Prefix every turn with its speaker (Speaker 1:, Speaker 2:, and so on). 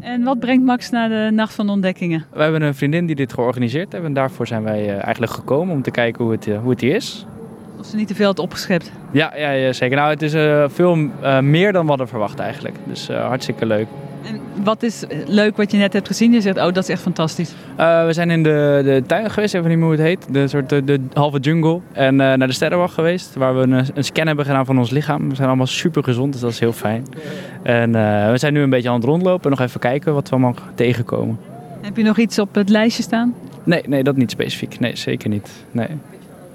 Speaker 1: En wat brengt Max naar de Nacht van de Ontdekkingen?
Speaker 2: We hebben een vriendin die dit georganiseerd heeft. En daarvoor zijn wij eh, eigenlijk gekomen om te kijken hoe het, eh, hoe het hier is.
Speaker 1: Of ze niet te veel had opgeschept.
Speaker 2: Ja, ja, ja, zeker. Nou, het is eh, veel eh, meer dan we hadden verwacht eigenlijk. Dus eh, hartstikke leuk.
Speaker 1: En wat is leuk wat je net hebt gezien? Je zegt, oh, dat is echt fantastisch.
Speaker 2: Eh, we zijn in de, de tuin geweest, even niet meer hoe het heet. De, soort, eh, de, halve jungle. En eh, naar de sterrenwacht geweest, waar we een, een scan hebben gedaan van ons lichaam. We zijn allemaal super gezond, dus dat is heel fijn. En eh, we zijn nu een beetje aan het rondlopen en nog even kijken wat we allemaal tegenkomen.
Speaker 1: Heb je nog iets op het lijstje staan?
Speaker 2: Nee, nee, dat niet specifiek. Nee, zeker niet. Nee.